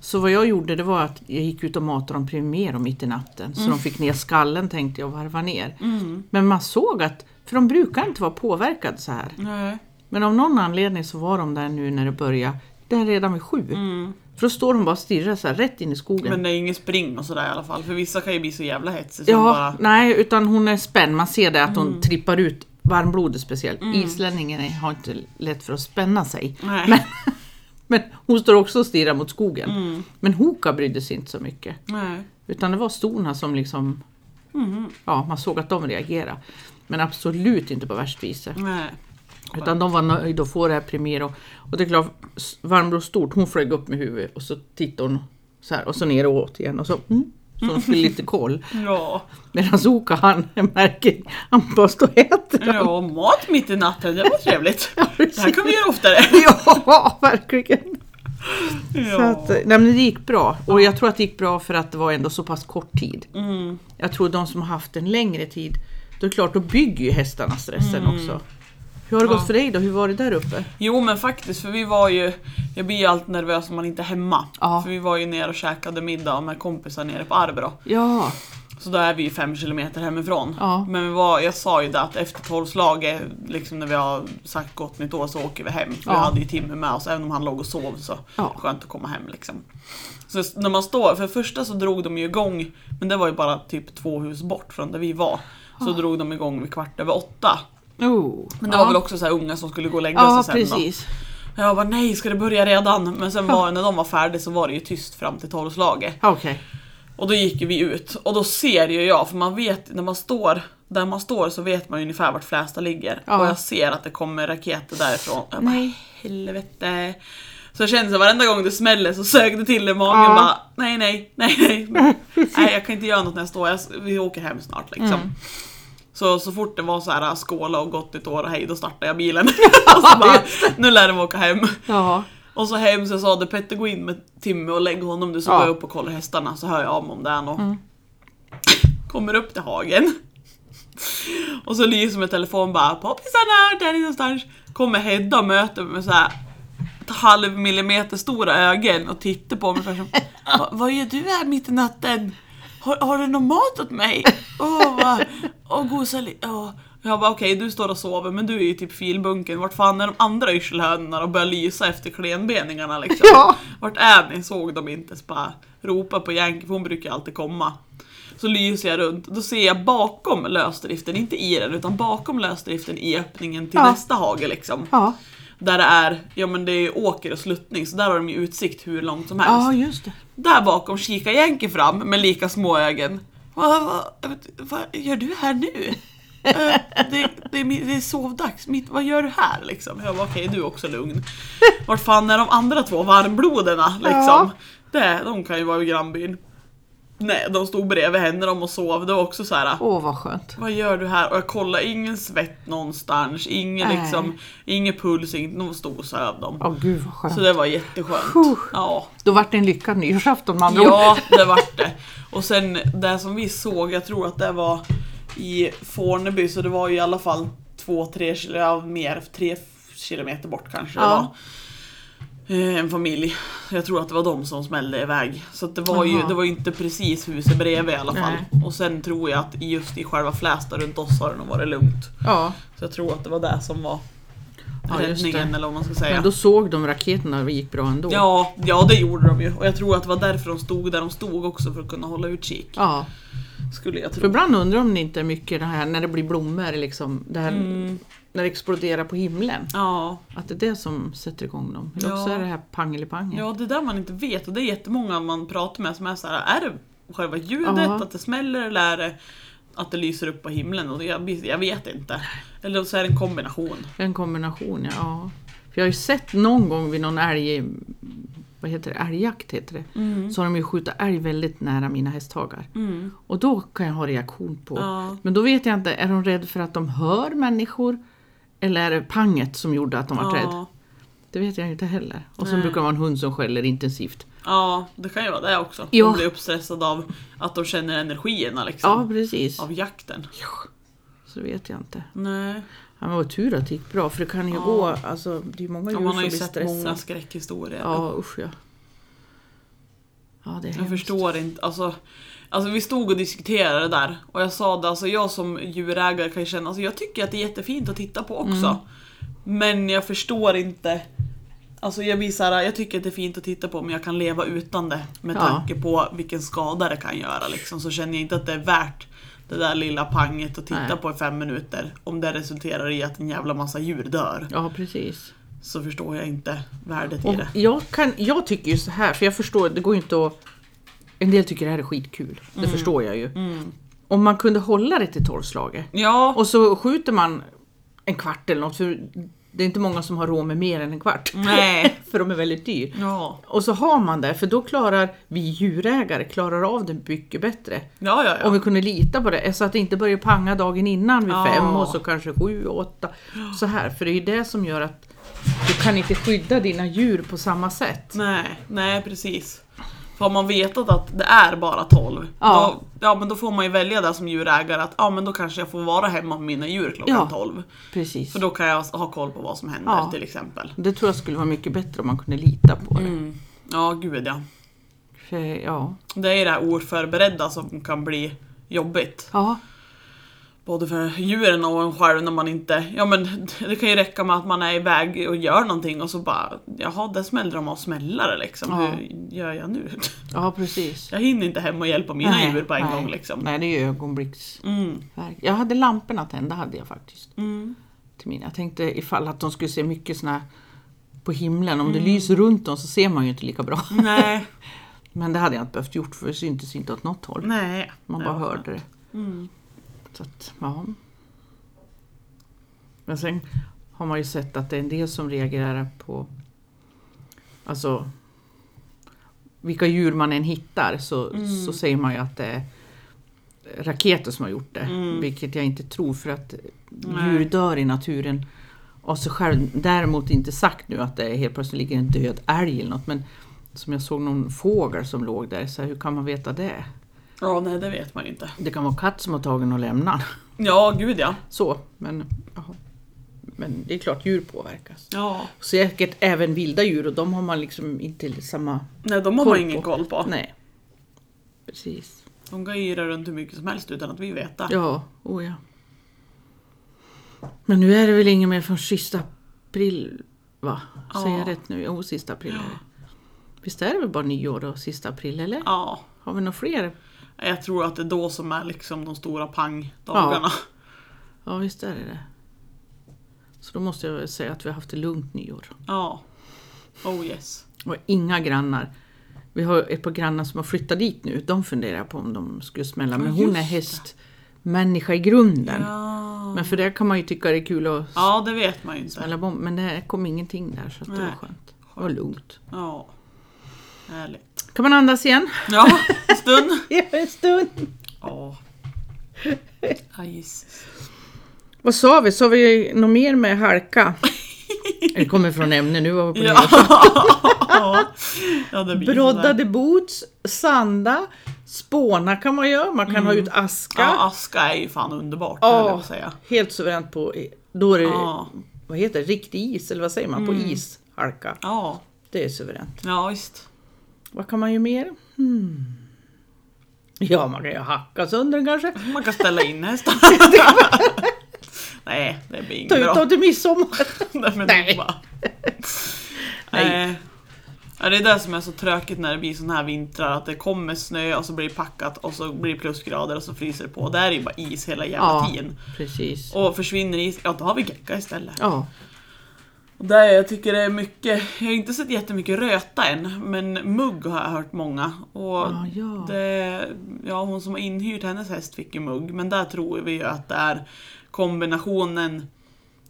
Speaker 1: Så vad jag gjorde det var att jag gick ut och matade dem Primero mitt i natten. Så de fick ner skallen tänkte jag och varva ner.
Speaker 2: Mm.
Speaker 1: Men man såg att, för de brukar inte vara påverkade så här.
Speaker 2: Nej.
Speaker 1: Men av någon anledning så var de där nu när det började, där redan vid sju.
Speaker 2: Mm.
Speaker 1: För då står de bara och stirrar så här rätt in i skogen.
Speaker 2: Men liksom det är ingen spring och sådär i alla fall. För vissa kan ju bli så jävla hetsiga.
Speaker 1: ja,
Speaker 2: som Bara, Mm.
Speaker 1: nej utan hon är spänd. Man ser det att hon trippar ut, varmblodig speciellt. Islänningen är- har inte lätt för att spänna sig.
Speaker 2: nej.
Speaker 1: Men, men hon står också och stirrar mot skogen.
Speaker 2: Mm.
Speaker 1: Men Hoka brydde sig inte så mycket.
Speaker 2: nej.
Speaker 1: Utan det var storna som liksom,
Speaker 2: Mm.
Speaker 1: ja man såg att de reagerade. Men absolut inte på värst vis.
Speaker 2: nej.
Speaker 1: Utan de var nöjda att få det här Primero. Och det är klart, Varmbro stort, hon flög upp med huvudet och så tittade hon så här och så ner och åt igen. Och så, mm, så hon skulle lite koll.
Speaker 2: Ja.
Speaker 1: Medan Oka han märker, han bara står och äter.
Speaker 2: ja, mat mitt i natten, det var trevligt. Det här kan vi göra oftare.
Speaker 1: Ja, verkligen! Så
Speaker 2: Ja.
Speaker 1: att, nej men det gick bra. Och jag tror att det gick bra för att det var ändå så pass kort tid.
Speaker 2: Mm.
Speaker 1: Jag tror de som har haft en längre tid, då är det klart, då bygger ju hästarna stressen också. Hur har det
Speaker 2: Mm. Ja.
Speaker 1: gått för dig då? Hur var det där uppe?
Speaker 2: Jo men faktiskt, för vi var ju... Jag blir ju alltid nervös om man inte är hemma.
Speaker 1: Ja.
Speaker 2: För vi var ju nere och käkade middag med kompisar nere på Arbro.
Speaker 1: Ja,
Speaker 2: Så då är vi ju fem kilometer hemifrån.
Speaker 1: Ja.
Speaker 2: Men vi var, jag sa ju det att efter tolvslaget, liksom när vi har sagt gott nytt år så åker vi hem. För
Speaker 1: Ja.
Speaker 2: Vi hade ju Timmy med oss, även om han låg och sov så
Speaker 1: Ja.
Speaker 2: skönt att komma hem liksom. Så s- när man står, för det första så drog de ju igång, men det var ju bara typ två hus bort från där vi var. Så drog de igång vid kvart över åtta.
Speaker 1: oh.
Speaker 2: Men det
Speaker 1: Ah. ja.
Speaker 2: var väl också så här unga som skulle gå och lägga
Speaker 1: Ja,
Speaker 2: sig sen då.
Speaker 1: precis.
Speaker 2: Och Jag bara nej, ska det börja redan? Men sen var, när de var färdiga så var det ju tyst fram till tolvslaget.
Speaker 1: Ja, Okej.
Speaker 2: Och då gick ju vi ut och då ser ju jag, för man vet när man står där man står så vet man ju ungefär vart Flästa ligger.
Speaker 1: Ja.
Speaker 2: Och jag ser att det kommer raketer därifrån. Jag bara,
Speaker 1: Nej.
Speaker 2: helvete. Så jag kände så varenda gång det smäller så sög det till i magen
Speaker 1: Ja.
Speaker 2: bara, nej nej, nej nej. nej jag kan inte göra något när jag står, jag, vi åker hem snart liksom.
Speaker 1: Mm.
Speaker 2: Så, så fort det var så här skåla och gott nytt år och hej, då startade jag bilen. och så bara, nu lär de åka hem.
Speaker 1: Ja.
Speaker 2: Och så hem så sa det Petter gå in med Timmy och lägg honom nu så
Speaker 1: Ja.
Speaker 2: går jag upp och kollar hästarna så hör jag om om det är något. Kommer upp till hagen. Och så lyser med telefon bara poppisarna, där är någonstans. Kommer Hedda och möter mig med så här ett halv millimeter stora ögon och tittar på mig ungefär som "Va- Vad gör du här mitt i natten? Har, har du någon mat åt mig? Åh, vad... Åh, gosa li- åh." Jag bara okej, du står och sover men du är ju typ filbunken. Vart fan är de andra yrselhönorna och börjar lysa efter klenbeningarna liksom?
Speaker 1: Ja.
Speaker 2: Vart är ni? Såg de inte? Så bara ropa på Yankee för hon brukar alltid komma. Så lyser jag runt, då ser jag bakom lösdriften, inte i den utan bakom lösdriften i öppningen till
Speaker 1: Ja.
Speaker 2: nästa hage liksom.
Speaker 1: Ja.
Speaker 2: Där det är, ja men det är ju åker och sluttning så där har de ju utsikt hur långt som helst.
Speaker 1: ja, just det.
Speaker 2: Där bakom kikar Yankee fram med lika små ögon. Vad va, vad gör du här nu? Eh, det, det, är, min- det är sovdags, mitt, vad gör du här liksom? Jag bara okej, du är också lugn. Vart fan är de andra två varmbloderna liksom?
Speaker 1: Ja.
Speaker 2: Det, de kan ju vara i grannbyn. Nej, de stod bredvid henne de och sov. Det var också så här.
Speaker 1: Åh, vad skönt.
Speaker 2: Vad gör du här? Och jag kollar, ingen svett någonstans, ingen,
Speaker 1: Nej.
Speaker 2: liksom, ingen puls, inget, de stod och söv dem.
Speaker 1: Ja, gud vad skönt.
Speaker 2: Så det var jätteskönt.
Speaker 1: Puh.
Speaker 2: Ja,
Speaker 1: Då vart det en lyckad nyårsafton med andra ord.
Speaker 2: ja det vart det. Och sen det som vi såg, jag tror att det var i Forneby, så det var ju i alla fall två, tre kilo, ja, mer, tre kilometer bort kanske det
Speaker 1: Ja.
Speaker 2: var. Eh, En familj. Jag tror att det var de som smällde iväg. Så att det var ju
Speaker 1: Jaha.
Speaker 2: det var ju inte precis huset bredvid i alla fall. Och sen tror jag att just i själva Flästa runt oss har det nog varit lugnt.
Speaker 1: Ja.
Speaker 2: Så jag tror att det var det som var
Speaker 1: Ja, just det.
Speaker 2: räddningen eller vad man ska säga.
Speaker 1: Men då såg de raketerna och det gick bra ändå.
Speaker 2: Ja, ja det gjorde de ju. Och jag tror att det var därför de stod där de stod också för att kunna hålla utkik.
Speaker 1: Ja.
Speaker 2: Skulle jag
Speaker 1: För
Speaker 2: tro.
Speaker 1: ibland undrar om det inte är mycket det här när det blir blommor, liksom, det här, när det exploderar på himlen.
Speaker 2: Ja,
Speaker 1: Att det är det som sätter igång dem. Eller också
Speaker 2: Ja.
Speaker 1: är det här pangelipangen.
Speaker 2: ja, det är där man inte vet och det är jättemånga man pratar med som är så här, är det själva ljudet,
Speaker 1: Ja.
Speaker 2: att det smäller eller är det att det lyser upp på himlen? Och jag, jag vet inte. Eller så är det en kombination.
Speaker 1: En kombination, ja. ja. För jag har ju sett någon gång vid någon älg, vad heter det, älgjakt heter det, så har de ju skjutit älg väldigt nära mina hästhagar. Och då kan jag ha reaktion på.
Speaker 2: Ja.
Speaker 1: Men då vet jag inte, är de rädda för att de hör människor? Eller är det panget som gjorde att de var rädda?
Speaker 2: Ja.
Speaker 1: Det vet jag ju inte heller. Och sen
Speaker 2: Nej.
Speaker 1: brukar det vara en hund som skäller intensivt.
Speaker 2: Ja, det kan ju vara det också.
Speaker 1: Ja.
Speaker 2: De blir uppstressade av att de känner energierna liksom.
Speaker 1: Ja, precis.
Speaker 2: Av jakten.
Speaker 1: Så vet jag inte.
Speaker 2: Nej.
Speaker 1: Ja, men vad tur att det gick bra för det kan ju
Speaker 2: Ja.
Speaker 1: gå, alltså det är många djur
Speaker 2: Och
Speaker 1: som
Speaker 2: man har ju
Speaker 1: blir
Speaker 2: sett
Speaker 1: stressade.
Speaker 2: många skräckhistorier.
Speaker 1: Ja usch ja. Ja det är
Speaker 2: Jag
Speaker 1: hemskt.
Speaker 2: förstår inte. Alltså, alltså vi stod och diskuterade det där och jag sa det, alltså jag som djurägare kan ju känna, alltså jag tycker att det är jättefint att titta på också.
Speaker 1: Mm.
Speaker 2: Men jag förstår inte. Alltså jag blir så här, jag tycker att det är fint att titta på men jag kan leva utan det med
Speaker 1: Ja.
Speaker 2: tanke på vilken skada det kan göra liksom. Så känner jag inte att det är värt det där lilla panget att titta
Speaker 1: Nej.
Speaker 2: på i fem minuter. Om det resulterar i att en jävla massa djur dör.
Speaker 1: Ja precis.
Speaker 2: Så förstår jag inte värdet i
Speaker 1: Och
Speaker 2: det.
Speaker 1: jag, kan, jag tycker ju så här, för jag förstår, det går ju inte att... En del tycker det här är skitkul, det förstår jag ju. Om man kunde hålla det till tolvslaget.
Speaker 2: Ja,
Speaker 1: Och så skjuter man en kvart eller något, för det är inte många som har råd med mer än en kvart.
Speaker 2: Nej.
Speaker 1: för de är väldigt dyr.
Speaker 2: ja,
Speaker 1: Och så har man det, för då klarar vi djurägare klarar av det mycket bättre.
Speaker 2: ja, ja. ja.
Speaker 1: Om vi kunde lita på det, så att det inte börjar panga dagen innan vid
Speaker 2: Ja.
Speaker 1: fem och så kanske sju, åtta. Så här, för det är ju det som gör att du kan inte skydda dina djur på samma sätt.
Speaker 2: Nej, nej precis. För har man vetat att det är bara 12,
Speaker 1: Ja.
Speaker 2: Då, ja, men då får man ju välja där som djurägare att ja, men då kanske jag får vara hemma med mina djur klockan
Speaker 1: Ja.
Speaker 2: 12.
Speaker 1: Precis.
Speaker 2: För då kan jag ha koll på vad som händer
Speaker 1: Ja.
Speaker 2: till exempel.
Speaker 1: Det tror jag skulle vara mycket bättre om man kunde lita på det.
Speaker 2: Mm. Ja, gud ja.
Speaker 1: För, ja.
Speaker 2: Det är det här oförberedda som kan bli jobbigt.
Speaker 1: ja,
Speaker 2: Både för djuren och en själv när man inte... Ja men det kan ju räcka med att man är iväg och gör någonting och så bara Jaha, där smällde de av smällare liksom.
Speaker 1: Ja.
Speaker 2: Hur gör jag nu?
Speaker 1: ja precis.
Speaker 2: Jag hinner inte hem och hjälpa mina
Speaker 1: Nej,
Speaker 2: djur på en
Speaker 1: nej.
Speaker 2: gång liksom.
Speaker 1: Nej, det är ju ögonblicks...
Speaker 2: Mm.
Speaker 1: Jag hade lamporna tända, hade jag faktiskt.
Speaker 2: Mm.
Speaker 1: Till mina. Jag tänkte ifall att de skulle se mycket såna här på himlen, om det lyser runt dem så ser man ju inte lika bra.
Speaker 2: Nej.
Speaker 1: Men det hade jag inte behövt gjort för det syntes inte åt något håll.
Speaker 2: Nej.
Speaker 1: Man
Speaker 2: Nej,
Speaker 1: bara
Speaker 2: vad
Speaker 1: hörde det.
Speaker 2: Mm.
Speaker 1: Så att, ja. Men sen har man ju sett att det är en del som reagerar på alltså vilka djur man än hittar så, så säger man ju att det är raketer som har gjort det. Vilket jag inte tror för att djur dör i naturen av sig själv. Däremot inte sagt nu att det är helt plötsligt ligger en död älg eller något. Men som jag såg någon fågel som låg där, så här, hur kan man veta det?
Speaker 2: Ja, nej det vet man inte.
Speaker 1: Det kan vara en katt som har tagit och lämnat.
Speaker 2: Ja, gud ja.
Speaker 1: Så, men, jaha. men det är klart djur påverkas.
Speaker 2: Ja.
Speaker 1: Säkert även vilda djur och de har man liksom inte samma...
Speaker 2: Nej, de har
Speaker 1: Koll
Speaker 2: man ingen
Speaker 1: på.
Speaker 2: koll på.
Speaker 1: Nej. Precis.
Speaker 2: De kan ju yra runt hur mycket som helst utan att vi vet det.
Speaker 1: Ja, oh ja. Men nu är det väl inget mer från sista april, va? Säger
Speaker 2: Ja.
Speaker 1: jag rätt nu? Jo, sista april är det. Visst är det väl bara nyår och sista april, eller?
Speaker 2: Ja.
Speaker 1: Har vi några fler?
Speaker 2: Jag tror att det är då som är liksom de stora pangdagarna.
Speaker 1: Ja, visst är det det. Så då måste jag väl säga att vi har haft ett lugnt nyår.
Speaker 2: Ja. Oh yes.
Speaker 1: Och inga grannar. Vi har ett par grannar som har flyttat dit nu. De funderar på om de skulle smälla. Men
Speaker 2: Ja,
Speaker 1: hon är
Speaker 2: just
Speaker 1: hästmänniska i grunden.
Speaker 2: Ja.
Speaker 1: Men för det kan man ju tycka det är kul att
Speaker 2: ja, det vet man ju inte.
Speaker 1: smälla bomb. Men det kom ingenting där så att det var
Speaker 2: Nej.
Speaker 1: skönt. Det var lugnt.
Speaker 2: Ja. Härligt.
Speaker 1: Kan man andas igen?
Speaker 2: Ja, en stund.
Speaker 1: en stund.
Speaker 2: Ja. Ja, Jesus.
Speaker 1: Vad sa vi? Sa vi något mer med halka? Det kommer från ämne nu. Var vi på
Speaker 2: Ja.
Speaker 1: nyår.
Speaker 2: Ja. ja, det blir sådär.
Speaker 1: Broddade boots, sanda, spåna kan man göra. Man kan ha ut aska.
Speaker 2: Ja, aska är ju fan underbart.
Speaker 1: Ja.
Speaker 2: höll jag på att säga.
Speaker 1: Helt suveränt på, då är det,
Speaker 2: Ja.
Speaker 1: vad heter det, riktig is eller vad säger man, på ishalka.
Speaker 2: Ja.
Speaker 1: Det är suveränt.
Speaker 2: Ja, visst.
Speaker 1: Vad kan man ju mer? Hmm. Ja, man kan ju hacka sönder den kanske.
Speaker 2: Man kan ställa in hästar. Nej, det blir
Speaker 1: Ta
Speaker 2: inget
Speaker 1: ut
Speaker 2: bra.
Speaker 1: dem till midsommar.
Speaker 2: Nej, men
Speaker 1: Nej.
Speaker 2: det är bara-
Speaker 1: Nej.
Speaker 2: Eh, Ja, det är det som är så tråkigt när det blir sådana här vintrar, att det kommer snö och så blir det packat och så blir det plusgrader och så fryser det på. Där är det ju bara is hela jävla
Speaker 1: Ja.
Speaker 2: tiden.
Speaker 1: Precis.
Speaker 2: Och försvinner is, ja då har vi gecka istället.
Speaker 1: Ja,
Speaker 2: Och där jag tycker det är mycket, jag har inte sett jättemycket röta än, men mugg har jag hört många. Och
Speaker 1: Ja, Ah, ja.
Speaker 2: Det, ja, hon som har inhyrt hennes häst fick ju mugg, men där tror vi ju att det är kombinationen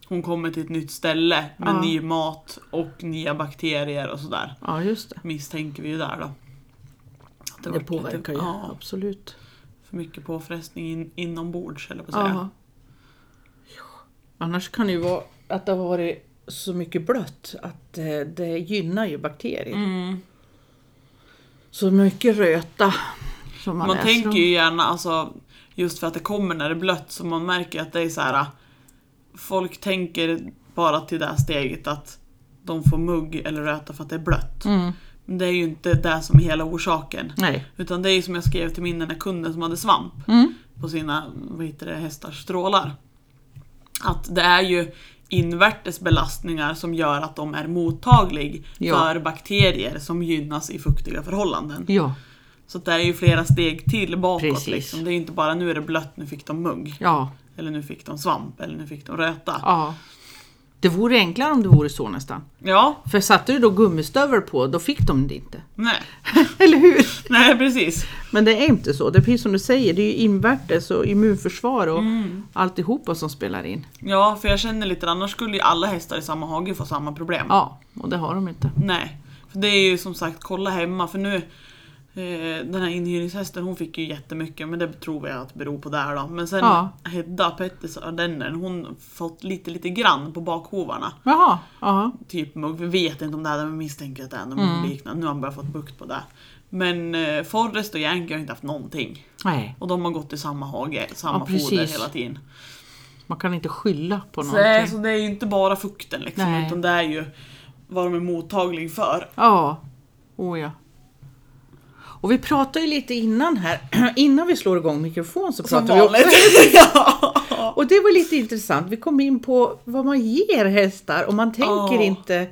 Speaker 2: hon kommer till ett nytt ställe med
Speaker 1: Ja.
Speaker 2: ny mat och nya bakterier och sådär.
Speaker 1: ja just det.
Speaker 2: Misstänker vi ju där då. Att
Speaker 1: Det,
Speaker 2: varit
Speaker 1: påverkar ju,
Speaker 2: lite, ja,
Speaker 1: absolut.
Speaker 2: för mycket påfrestning in, inombords eller på att säga.
Speaker 1: Ja. Annars kan det ju vara att det har varit Mm. så mycket blött att eh, det gynnar ju bakterier.
Speaker 2: Mm.
Speaker 1: Så mycket röta som man,
Speaker 2: Man,
Speaker 1: läser
Speaker 2: tänker
Speaker 1: om.
Speaker 2: ju gärna, alltså, just för att det kommer när det är blött, så man märker att det är så här. Folk tänker bara till det här steget att de får mugg eller röta för att det är blött.
Speaker 1: Mm.
Speaker 2: Men det är ju inte det som är hela orsaken.
Speaker 1: Nej.
Speaker 2: Utan det är ju som jag skrev till min den här kunden som hade svamp
Speaker 1: Mm.
Speaker 2: på sina vad heter det, hästars strålar. Att det är ju invärtes belastningar som gör att de är mottaglig
Speaker 1: Ja.
Speaker 2: för bakterier som gynnas i fuktiga förhållanden.
Speaker 1: Ja.
Speaker 2: Så det är ju flera steg till bakåt.
Speaker 1: Precis.
Speaker 2: Liksom. Det är ju inte bara nu är det blött, nu fick de mugg.
Speaker 1: Ja.
Speaker 2: Eller nu fick de svamp, eller nu fick de röta. Ja,
Speaker 1: ja. Det vore enklare om det vore så nästan. För satte du då gummistövlar på, då fick de det inte.
Speaker 2: nej.
Speaker 1: Eller hur?
Speaker 2: nej precis.
Speaker 1: Men det är inte så. Det är precis som du säger, det är ju invärtes och immunförsvar och alltihopa som spelar in.
Speaker 2: Mm. Ja, för jag känner lite, annars skulle ju alla hästar i samma hage få samma problem.
Speaker 1: Ja, och det har de inte.
Speaker 2: Nej, för det är ju som sagt kolla hemma för nu eh, den här inhyrningshästen hon fick ju jättemycket men det tror jag att beror på där då. Men sen
Speaker 1: Ja.
Speaker 2: Hedda Pettersson, Ardennern, hon fått lite lite grann på bakhovarna.
Speaker 1: Jaha, aha.
Speaker 2: Typ mugg, vi vet inte om det här men vi misstänker att det är något
Speaker 1: Mm.
Speaker 2: liknande. Nu har han börjat fått bukt på det. Men eh, Forrest och Yankee har inte haft någonting.
Speaker 1: Nej,
Speaker 2: Och de har gått i samma hage, samma
Speaker 1: Ja,
Speaker 2: foder
Speaker 1: precis.
Speaker 2: hela tiden.
Speaker 1: man kan inte skylla på
Speaker 2: Nej,
Speaker 1: någonting.
Speaker 2: så det är ju inte bara fukten liksom,
Speaker 1: Nej.
Speaker 2: utan det är ju vad de är mottaglig för.
Speaker 1: Ja, oh ja. Och vi pratade ju lite innan här, innan vi slår igång mikrofon så
Speaker 2: Som
Speaker 1: pratade vi också.
Speaker 2: vanligt. ja.
Speaker 1: Och det var lite intressant, vi kom in på vad man ger hästar och man tänker
Speaker 2: Ja.
Speaker 1: inte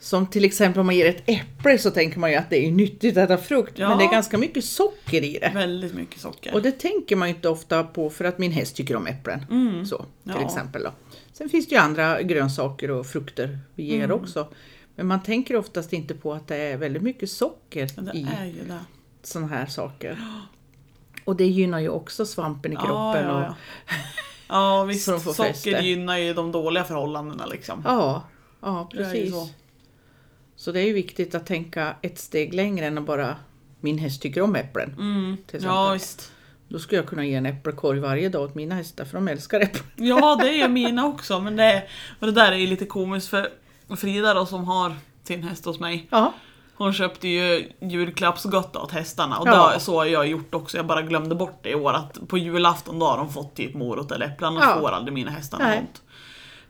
Speaker 1: som till exempel om man ger ett äpple så tänker man ju att det är ju nyttigt att äta frukt
Speaker 2: Ja.
Speaker 1: men det är ganska mycket socker i det.
Speaker 2: Väldigt mycket socker.
Speaker 1: Och det tänker man ju inte ofta på för att min häst tycker om äpplen. Så, till
Speaker 2: Mm. Ja.
Speaker 1: exempel då. Sen finns det ju andra grönsaker och frukter vi ger
Speaker 2: Mm.
Speaker 1: också. Men man tänker oftast inte på att det är väldigt mycket socker
Speaker 2: Men det
Speaker 1: i
Speaker 2: är ju det.
Speaker 1: sådana här saker. Och det gynnar ju också svampen i
Speaker 2: Ja,
Speaker 1: kroppen.
Speaker 2: ja,
Speaker 1: och,
Speaker 2: ja. Ja visst,
Speaker 1: Så de får
Speaker 2: socker
Speaker 1: fäste.
Speaker 2: gynnar ju de dåliga förhållandena liksom.
Speaker 1: ja, ja,
Speaker 2: Det är ju
Speaker 1: precis.
Speaker 2: så.
Speaker 1: Så. det är ju viktigt att tänka ett steg längre än att bara min häst tycker om äpplen.
Speaker 2: Mm.
Speaker 1: Till exempel.
Speaker 2: Ja visst.
Speaker 1: Då skulle jag kunna ge en äppelkorg varje dag åt mina hästar för de älskar äpplen.
Speaker 2: Ja det är ju mina också men det, är, och det där är ju lite komiskt för Frida då som har sin häst hos mig.
Speaker 1: Ja,
Speaker 2: Hon köpte ju julklappsgott åt hästarna och
Speaker 1: Ja.
Speaker 2: det, så har jag gjort också. Jag bara glömde bort det i år att på julafton då har de fått typ morot eller äpplen. Annars
Speaker 1: Ja.
Speaker 2: får aldrig mina hästar
Speaker 1: Nej.
Speaker 2: något.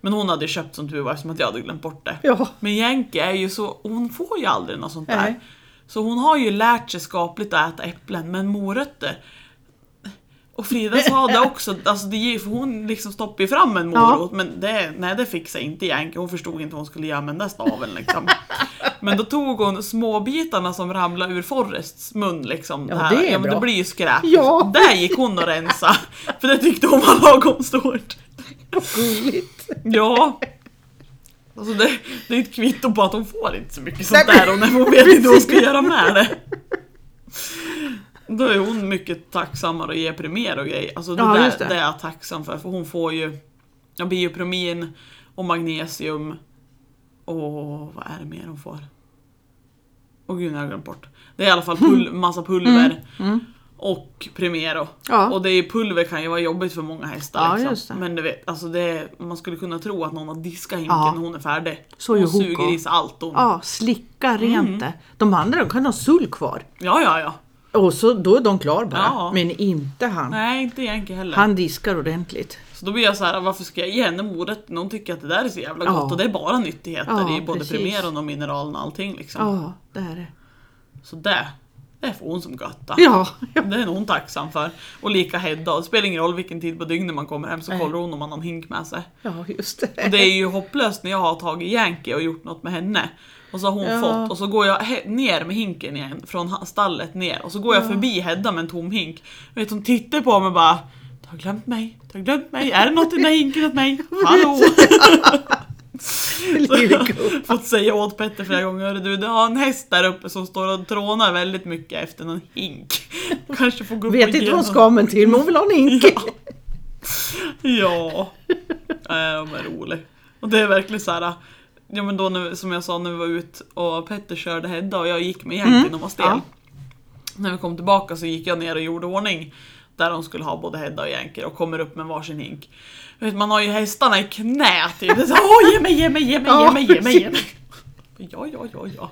Speaker 2: Men hon hade ju köpt som tur var eftersom att jag hade glömt bort det.
Speaker 1: ja.
Speaker 2: Men Jenke är ju så, hon får ju aldrig något sånt där.
Speaker 1: Nej.
Speaker 2: Så hon har ju lärt sig skapligt att äta äpplen, men morötter och Frida sa det också, alltså det ger, för hon liksom stoppar ju fram en morot men det, nej det fixade inte Jenke, hon förstod inte vad hon skulle göra med den där staven liksom. Men då tog hon småbitarna som ramlade ur Forrests mun liksom.
Speaker 1: Ja,
Speaker 2: här.
Speaker 1: det är
Speaker 2: ja men det
Speaker 1: bra.
Speaker 2: blir ju skräp.
Speaker 1: Ja.
Speaker 2: Där gick hon och rensa för det tyckte hon var lagom stort.
Speaker 1: Gulligt.
Speaker 2: Ja. Alltså det, det är ett kvitto på att hon får inte så mycket
Speaker 1: Nej,
Speaker 2: sånt
Speaker 1: men-
Speaker 2: där och när hon vet inte vad hon ska göra med det. Då är hon mycket tacksammare och ger premier och grejer. Alltså det,
Speaker 1: Ja,
Speaker 2: där,
Speaker 1: just
Speaker 2: det.
Speaker 1: det.
Speaker 2: är jag tacksam för, för hon får ju ja, biopromin och magnesium och vad är det mer hon får? Åh gud, nu har jag glömt bort. Det är i alla fall pul-
Speaker 1: Mm.
Speaker 2: massa pulver och Primero.
Speaker 1: Ja.
Speaker 2: Och det är pulver kan ju vara jobbigt för många hästar.
Speaker 1: Ja,
Speaker 2: liksom.
Speaker 1: just det.
Speaker 2: Men du vet, alltså det är, man skulle kunna tro att någon har diskat hinken
Speaker 1: Ja.
Speaker 2: när hon är färdig.
Speaker 1: Så
Speaker 2: hon
Speaker 1: gör Hugo.
Speaker 2: suger i sig allt hon... Ja,
Speaker 1: Ja, slicka rent det. De andra de kan ha sull kvar.
Speaker 2: ja, ja.
Speaker 1: Och så, då är de klar bara.
Speaker 2: Ja.
Speaker 1: Men inte han.
Speaker 2: Nej, inte Yankee heller.
Speaker 1: Han diskar ordentligt.
Speaker 2: Så då blir jag så här, varför ska jag ge henne morot? Någon tycker att det där är så jävla
Speaker 1: Ja.
Speaker 2: gott och det är bara nyttigheter
Speaker 1: Ja,
Speaker 2: i både
Speaker 1: precis.
Speaker 2: Primeron och mineralen och allting liksom.
Speaker 1: Ja, det är det.
Speaker 2: Så det, det får hon som götta.
Speaker 1: Ja, ja.
Speaker 2: Det är nog hon tacksam för. Och lika Hedda, det spelar ingen roll vilken tid på dygnet man kommer hem så
Speaker 1: Nej.
Speaker 2: kollar hon om man har en hink med sig.
Speaker 1: ja just det.
Speaker 2: Och det är ju hopplöst när jag har tagit Yankee och gjort något med henne. Och så har hon
Speaker 1: Ja.
Speaker 2: fått och så går jag he- ner med hinken igen från ha- stallet ner och så går jag förbi Hedda med en tom hink. Jag vet hon tittar på mig och bara Du har glömt mig, du har glömt mig, är det något i den där hinken åt mig? Hallå!
Speaker 1: Lillgubben.
Speaker 2: Fått säga åt Petter flera gånger, "Hörru du det har en häst där uppe som står och trånar väldigt mycket efter någon hink. Kanske får gå upp och
Speaker 1: Vet
Speaker 2: ge
Speaker 1: inte vad hon
Speaker 2: någon-
Speaker 1: ska men till men hon vill ha en hink.
Speaker 2: Ja. Nej, de är roliga. Och det är verkligen så här. Ja men då när, som jag sa när vi var ut och Petter körde Hedda och jag gick med Yankee och var stel.
Speaker 1: Mm. Ja.
Speaker 2: När vi kom tillbaka så gick jag ner och gjorde ordning där de skulle ha både Hedda och Yankee och kommer upp med varsin hink. Du Vet, man har ju hästarna i knät. Typ. Det är så, här, Åh ge mig, ge mig, ge mig, ge
Speaker 1: Ja,
Speaker 2: mig, ge mig, ge mig. Ja, ja, ja, ja.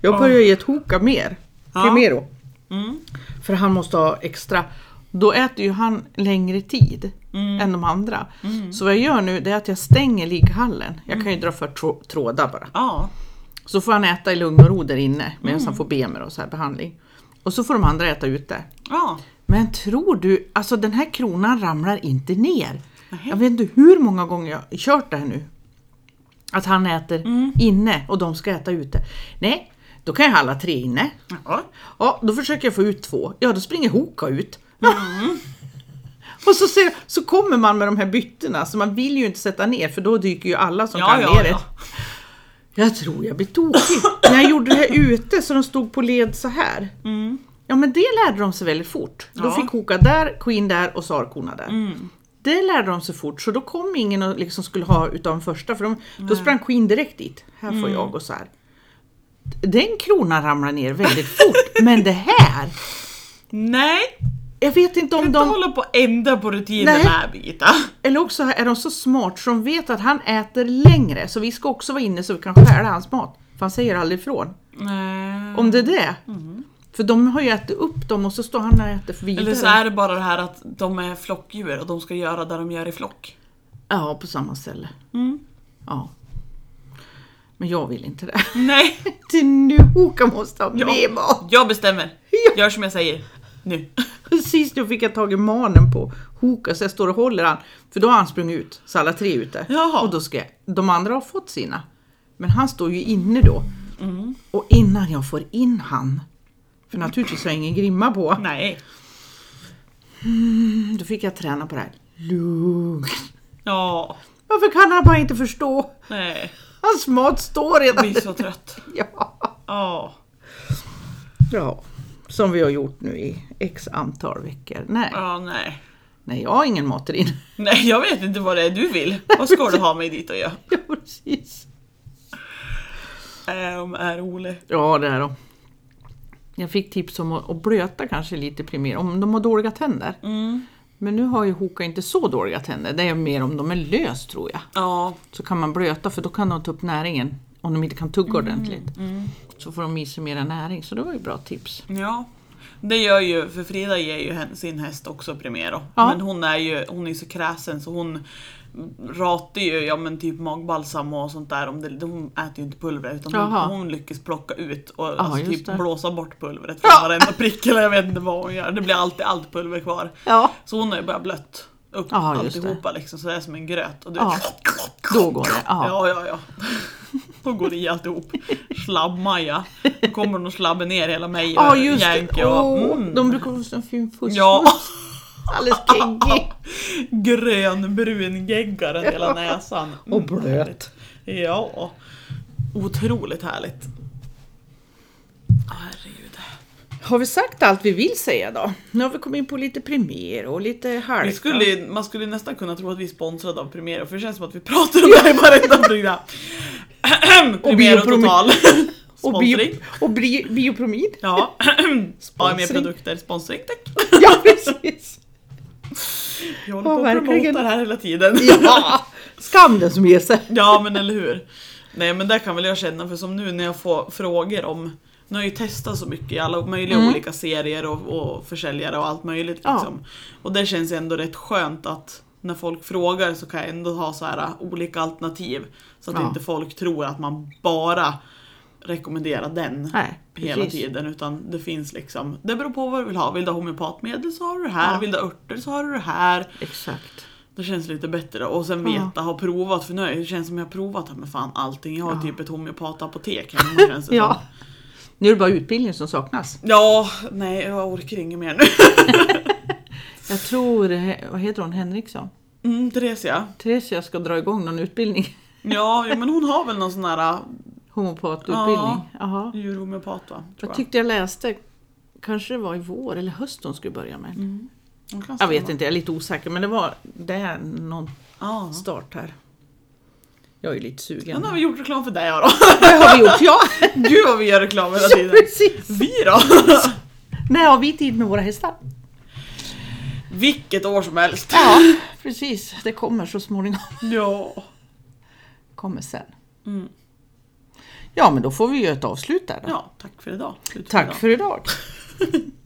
Speaker 1: Jag börjar ge Toka mer.
Speaker 2: Ja.
Speaker 1: Primero.
Speaker 2: Mm.
Speaker 1: För han måste ha extra. Då äter ju han längre tid än de andra. Så vad jag gör nu det är att jag stänger ligghallen. Jag kan ju dra för trå- trådar bara.
Speaker 2: Ja.
Speaker 1: Så får han äta i lugn och ro där inne medan han får bemer och så här behandling. Och så får de andra äta ute.
Speaker 2: Ja.
Speaker 1: Men tror du, alltså den här kronan ramlar inte ner.
Speaker 2: Nähä.
Speaker 1: Jag vet inte hur många gånger jag har kört det här nu. Att han äter inne och de ska äta ute. Nej, då kan jag ha alla tre inne.
Speaker 2: ja.
Speaker 1: Ja, då försöker jag få ut två. Ja, då springer Hoka ut. och så, ser, så kommer man med de här byttena, så man vill ju inte sätta ner för då dyker ju alla som
Speaker 2: Ja,
Speaker 1: kan
Speaker 2: ja,
Speaker 1: ner
Speaker 2: ja.
Speaker 1: ett. Jag tror jag blir tokig. När jag gjorde det här ute så de stod på led så här. Ja men det lärde de sig väldigt fort. Då
Speaker 2: Mm. Ja. Mm.
Speaker 1: fick Hoka där, Queen där och Sarkona där. Det lärde de sig fort så då kom ingen och liksom skulle ha utav den första för de, då sprang Queen direkt dit. Här får
Speaker 2: Mm.
Speaker 1: jag och så här. Den kronan ramlar ner väldigt fort men det här!
Speaker 2: Nej,
Speaker 1: Jag vet inte om
Speaker 2: kan inte
Speaker 1: de...
Speaker 2: hålla på och ändra på rutinen
Speaker 1: Nej.
Speaker 2: här Birgitta.
Speaker 1: Eller också är de så smart så de vet att han äter längre så vi ska också vara inne så vi kan stjäla hans mat. För han säger aldrig ifrån.
Speaker 2: Nej.
Speaker 1: Om det är det. För de har ju ätit upp dem och så står han och äter vidare.
Speaker 2: Mm. Eller så är det bara det här att de är flockdjur och de ska göra det de gör i flock.
Speaker 1: Ja, på samma ställe.
Speaker 2: Mm.
Speaker 1: Ja. Men jag vill inte det.
Speaker 2: Nej,
Speaker 1: Till nu Hoka måste ha
Speaker 2: Ja.
Speaker 1: med mat.
Speaker 2: jag bestämmer.
Speaker 1: Ja.
Speaker 2: Gör som jag säger. Nu.
Speaker 1: Precis nu fick jag tag i manen på Hoka så jag står och håller han. För då har han sprungit ut, så alla tre är ute.
Speaker 2: Jaha.
Speaker 1: Och då ska jag, de andra har fått sina. Men han står ju inne då. Och innan jag får in han. För naturligtvis har jag ingen grimma på.
Speaker 2: Nej.
Speaker 1: Då fick jag träna på det här. Lugn.
Speaker 2: Ja.
Speaker 1: Varför kan han bara inte förstå?
Speaker 2: Nej.
Speaker 1: Hans mat står
Speaker 2: Jag
Speaker 1: redan.
Speaker 2: blir så trött.
Speaker 1: Ja.
Speaker 2: Ja.
Speaker 1: ja. Som vi har gjort nu i x antal veckor. Nej,
Speaker 2: Ja, nej.
Speaker 1: nej jag har ingen mat där inne.
Speaker 2: Nej, jag vet inte vad det är du vill. Vad ska du ha mig dit och göra?
Speaker 1: Ja, precis.
Speaker 2: Är de Ehm, är Ole.
Speaker 1: Ja, det är de. Jag fick tips om att att blöta kanske lite primer, om de har dåliga tänder.
Speaker 2: Mm.
Speaker 1: Men nu har ju Hoka inte så dåliga tänder, det är mer om de är lös tror jag.
Speaker 2: Ja.
Speaker 1: Så kan man blöta för då kan de ta upp näringen om de inte kan tugga
Speaker 2: Mm,
Speaker 1: ordentligt. Så får de i sig mera näring, så det var ju bra tips.
Speaker 2: Ja. Det gör ju, för Frida ger ju hen- sin häst också Primero.
Speaker 1: Ja.
Speaker 2: Men hon är ju hon är ju så kräsen så hon ratar ju ja, men typ magbalsam och sånt där. Om det, hon äter ju inte pulver utan hon,
Speaker 1: Jaha.
Speaker 2: hon lyckas plocka ut och alltså,
Speaker 1: just
Speaker 2: typ
Speaker 1: det.
Speaker 2: blåsa bort pulvret från varenda prick. Eller jag vet inte vad hon gör. Det blir alltid allt pulver kvar.
Speaker 1: Ja.
Speaker 2: Så hon har ju börjat blött upp
Speaker 1: Ja, just det.
Speaker 2: alltihopa liksom. Så det är som en gröt. Och du
Speaker 1: Ja.
Speaker 2: vet,
Speaker 1: Då går det. Ja.
Speaker 2: Ja, ja, ja. Då går det i alltihop. Slabbmaja. Då kommer de och slabbar ner hela mig och
Speaker 1: Ja, just
Speaker 2: Jänke
Speaker 1: det.
Speaker 2: och...
Speaker 1: Åh,
Speaker 2: Mm.
Speaker 1: De brukar ha sån fin fusk.
Speaker 2: Ja.
Speaker 1: Alldeles geggig.
Speaker 2: Grönbrun geggaren hela näsan. Mm,
Speaker 1: Och blöt.
Speaker 2: härligt. Ja. Otroligt härligt. Herregud.
Speaker 1: Har vi sagt allt vi vill säga då? Nu har vi kommit in på lite primer och lite halka.
Speaker 2: Vi skulle, ju- man skulle ju nästan kunna tro att vi är sponsrade av Primero för det känns som att vi pratar om det här i varenda program. Primero
Speaker 1: Biopromi-
Speaker 2: Total.
Speaker 1: Och, bio,
Speaker 2: Sponsring.
Speaker 1: och bri, biopromid.
Speaker 2: Ja. AME
Speaker 1: Sponsring.
Speaker 2: produkter, sponsring tack.
Speaker 1: Ja, precis.
Speaker 2: Jag håller
Speaker 1: Ja,
Speaker 2: på att promota
Speaker 1: verkligen.
Speaker 2: det här hela tiden.
Speaker 1: Ja. Skam den som ger sig.
Speaker 2: Ja, men eller hur. Nej men där kan väl jag känna för som nu när jag får frågor om Nu har jag ju testat så mycket i alla möjliga olika serier och, och försäljare och allt
Speaker 1: Mm.
Speaker 2: möjligt
Speaker 1: Ja.
Speaker 2: liksom. Och det känns ändå rätt skönt att när folk frågar så kan jag ändå ha så här äh, olika alternativ. Så att
Speaker 1: Ja.
Speaker 2: inte folk tror att man bara rekommenderar den
Speaker 1: Nej,
Speaker 2: hela
Speaker 1: precis.
Speaker 2: tiden utan det finns liksom Det beror på vad du vill ha. Vill du ha homeopatmedel så har du det här.
Speaker 1: Ja.
Speaker 2: Vill du ha örter så har du det här.
Speaker 1: Exakt.
Speaker 2: Det känns lite bättre och sen
Speaker 1: Ja.
Speaker 2: veta, ha provat för nu är- det känns som jag har provat här med fan allting. Jag har typ ett homeopatapotek hemma känns det
Speaker 1: Ja.
Speaker 2: som.
Speaker 1: Nu är det bara utbildning som saknas.
Speaker 2: Ja, nej jag orkar inget mer nu.
Speaker 1: Jag tror, eh, vad heter hon, Henriksson?
Speaker 2: Mm, Theresia.
Speaker 1: Theresia ska dra igång någon utbildning.
Speaker 2: Ja, jo, men hon har väl någon sån här äh,
Speaker 1: Homopatutbildning. Jaha.
Speaker 2: djurhomeopat va? Tror
Speaker 1: Jag
Speaker 2: jag.
Speaker 1: tyckte jag läste, kanske det var i vår eller höst hon skulle börja med.
Speaker 2: Hon kan
Speaker 1: Jag vet
Speaker 2: stämma.
Speaker 1: inte, jag är lite osäker men det var, det är någon
Speaker 2: Ja.
Speaker 1: start här. Jag är ju lite
Speaker 2: Men
Speaker 1: sugen.
Speaker 2: då har vi gjort reklam för dig ja, då.
Speaker 1: Det har vi gjort, ja!
Speaker 2: Gud vad vi gör reklam hela
Speaker 1: ja
Speaker 2: tiden.
Speaker 1: precis!
Speaker 2: Vi då?
Speaker 1: När har vi tid med våra hästar?
Speaker 2: Vilket år som helst.
Speaker 1: Ja, precis. Det kommer så småningom.
Speaker 2: Ja.
Speaker 1: kommer sen.
Speaker 2: Mm. Ja, men då får vi göra ett avslut där då.
Speaker 1: Ja, tack för idag. Slut
Speaker 2: Tack
Speaker 1: idag.
Speaker 2: för idag.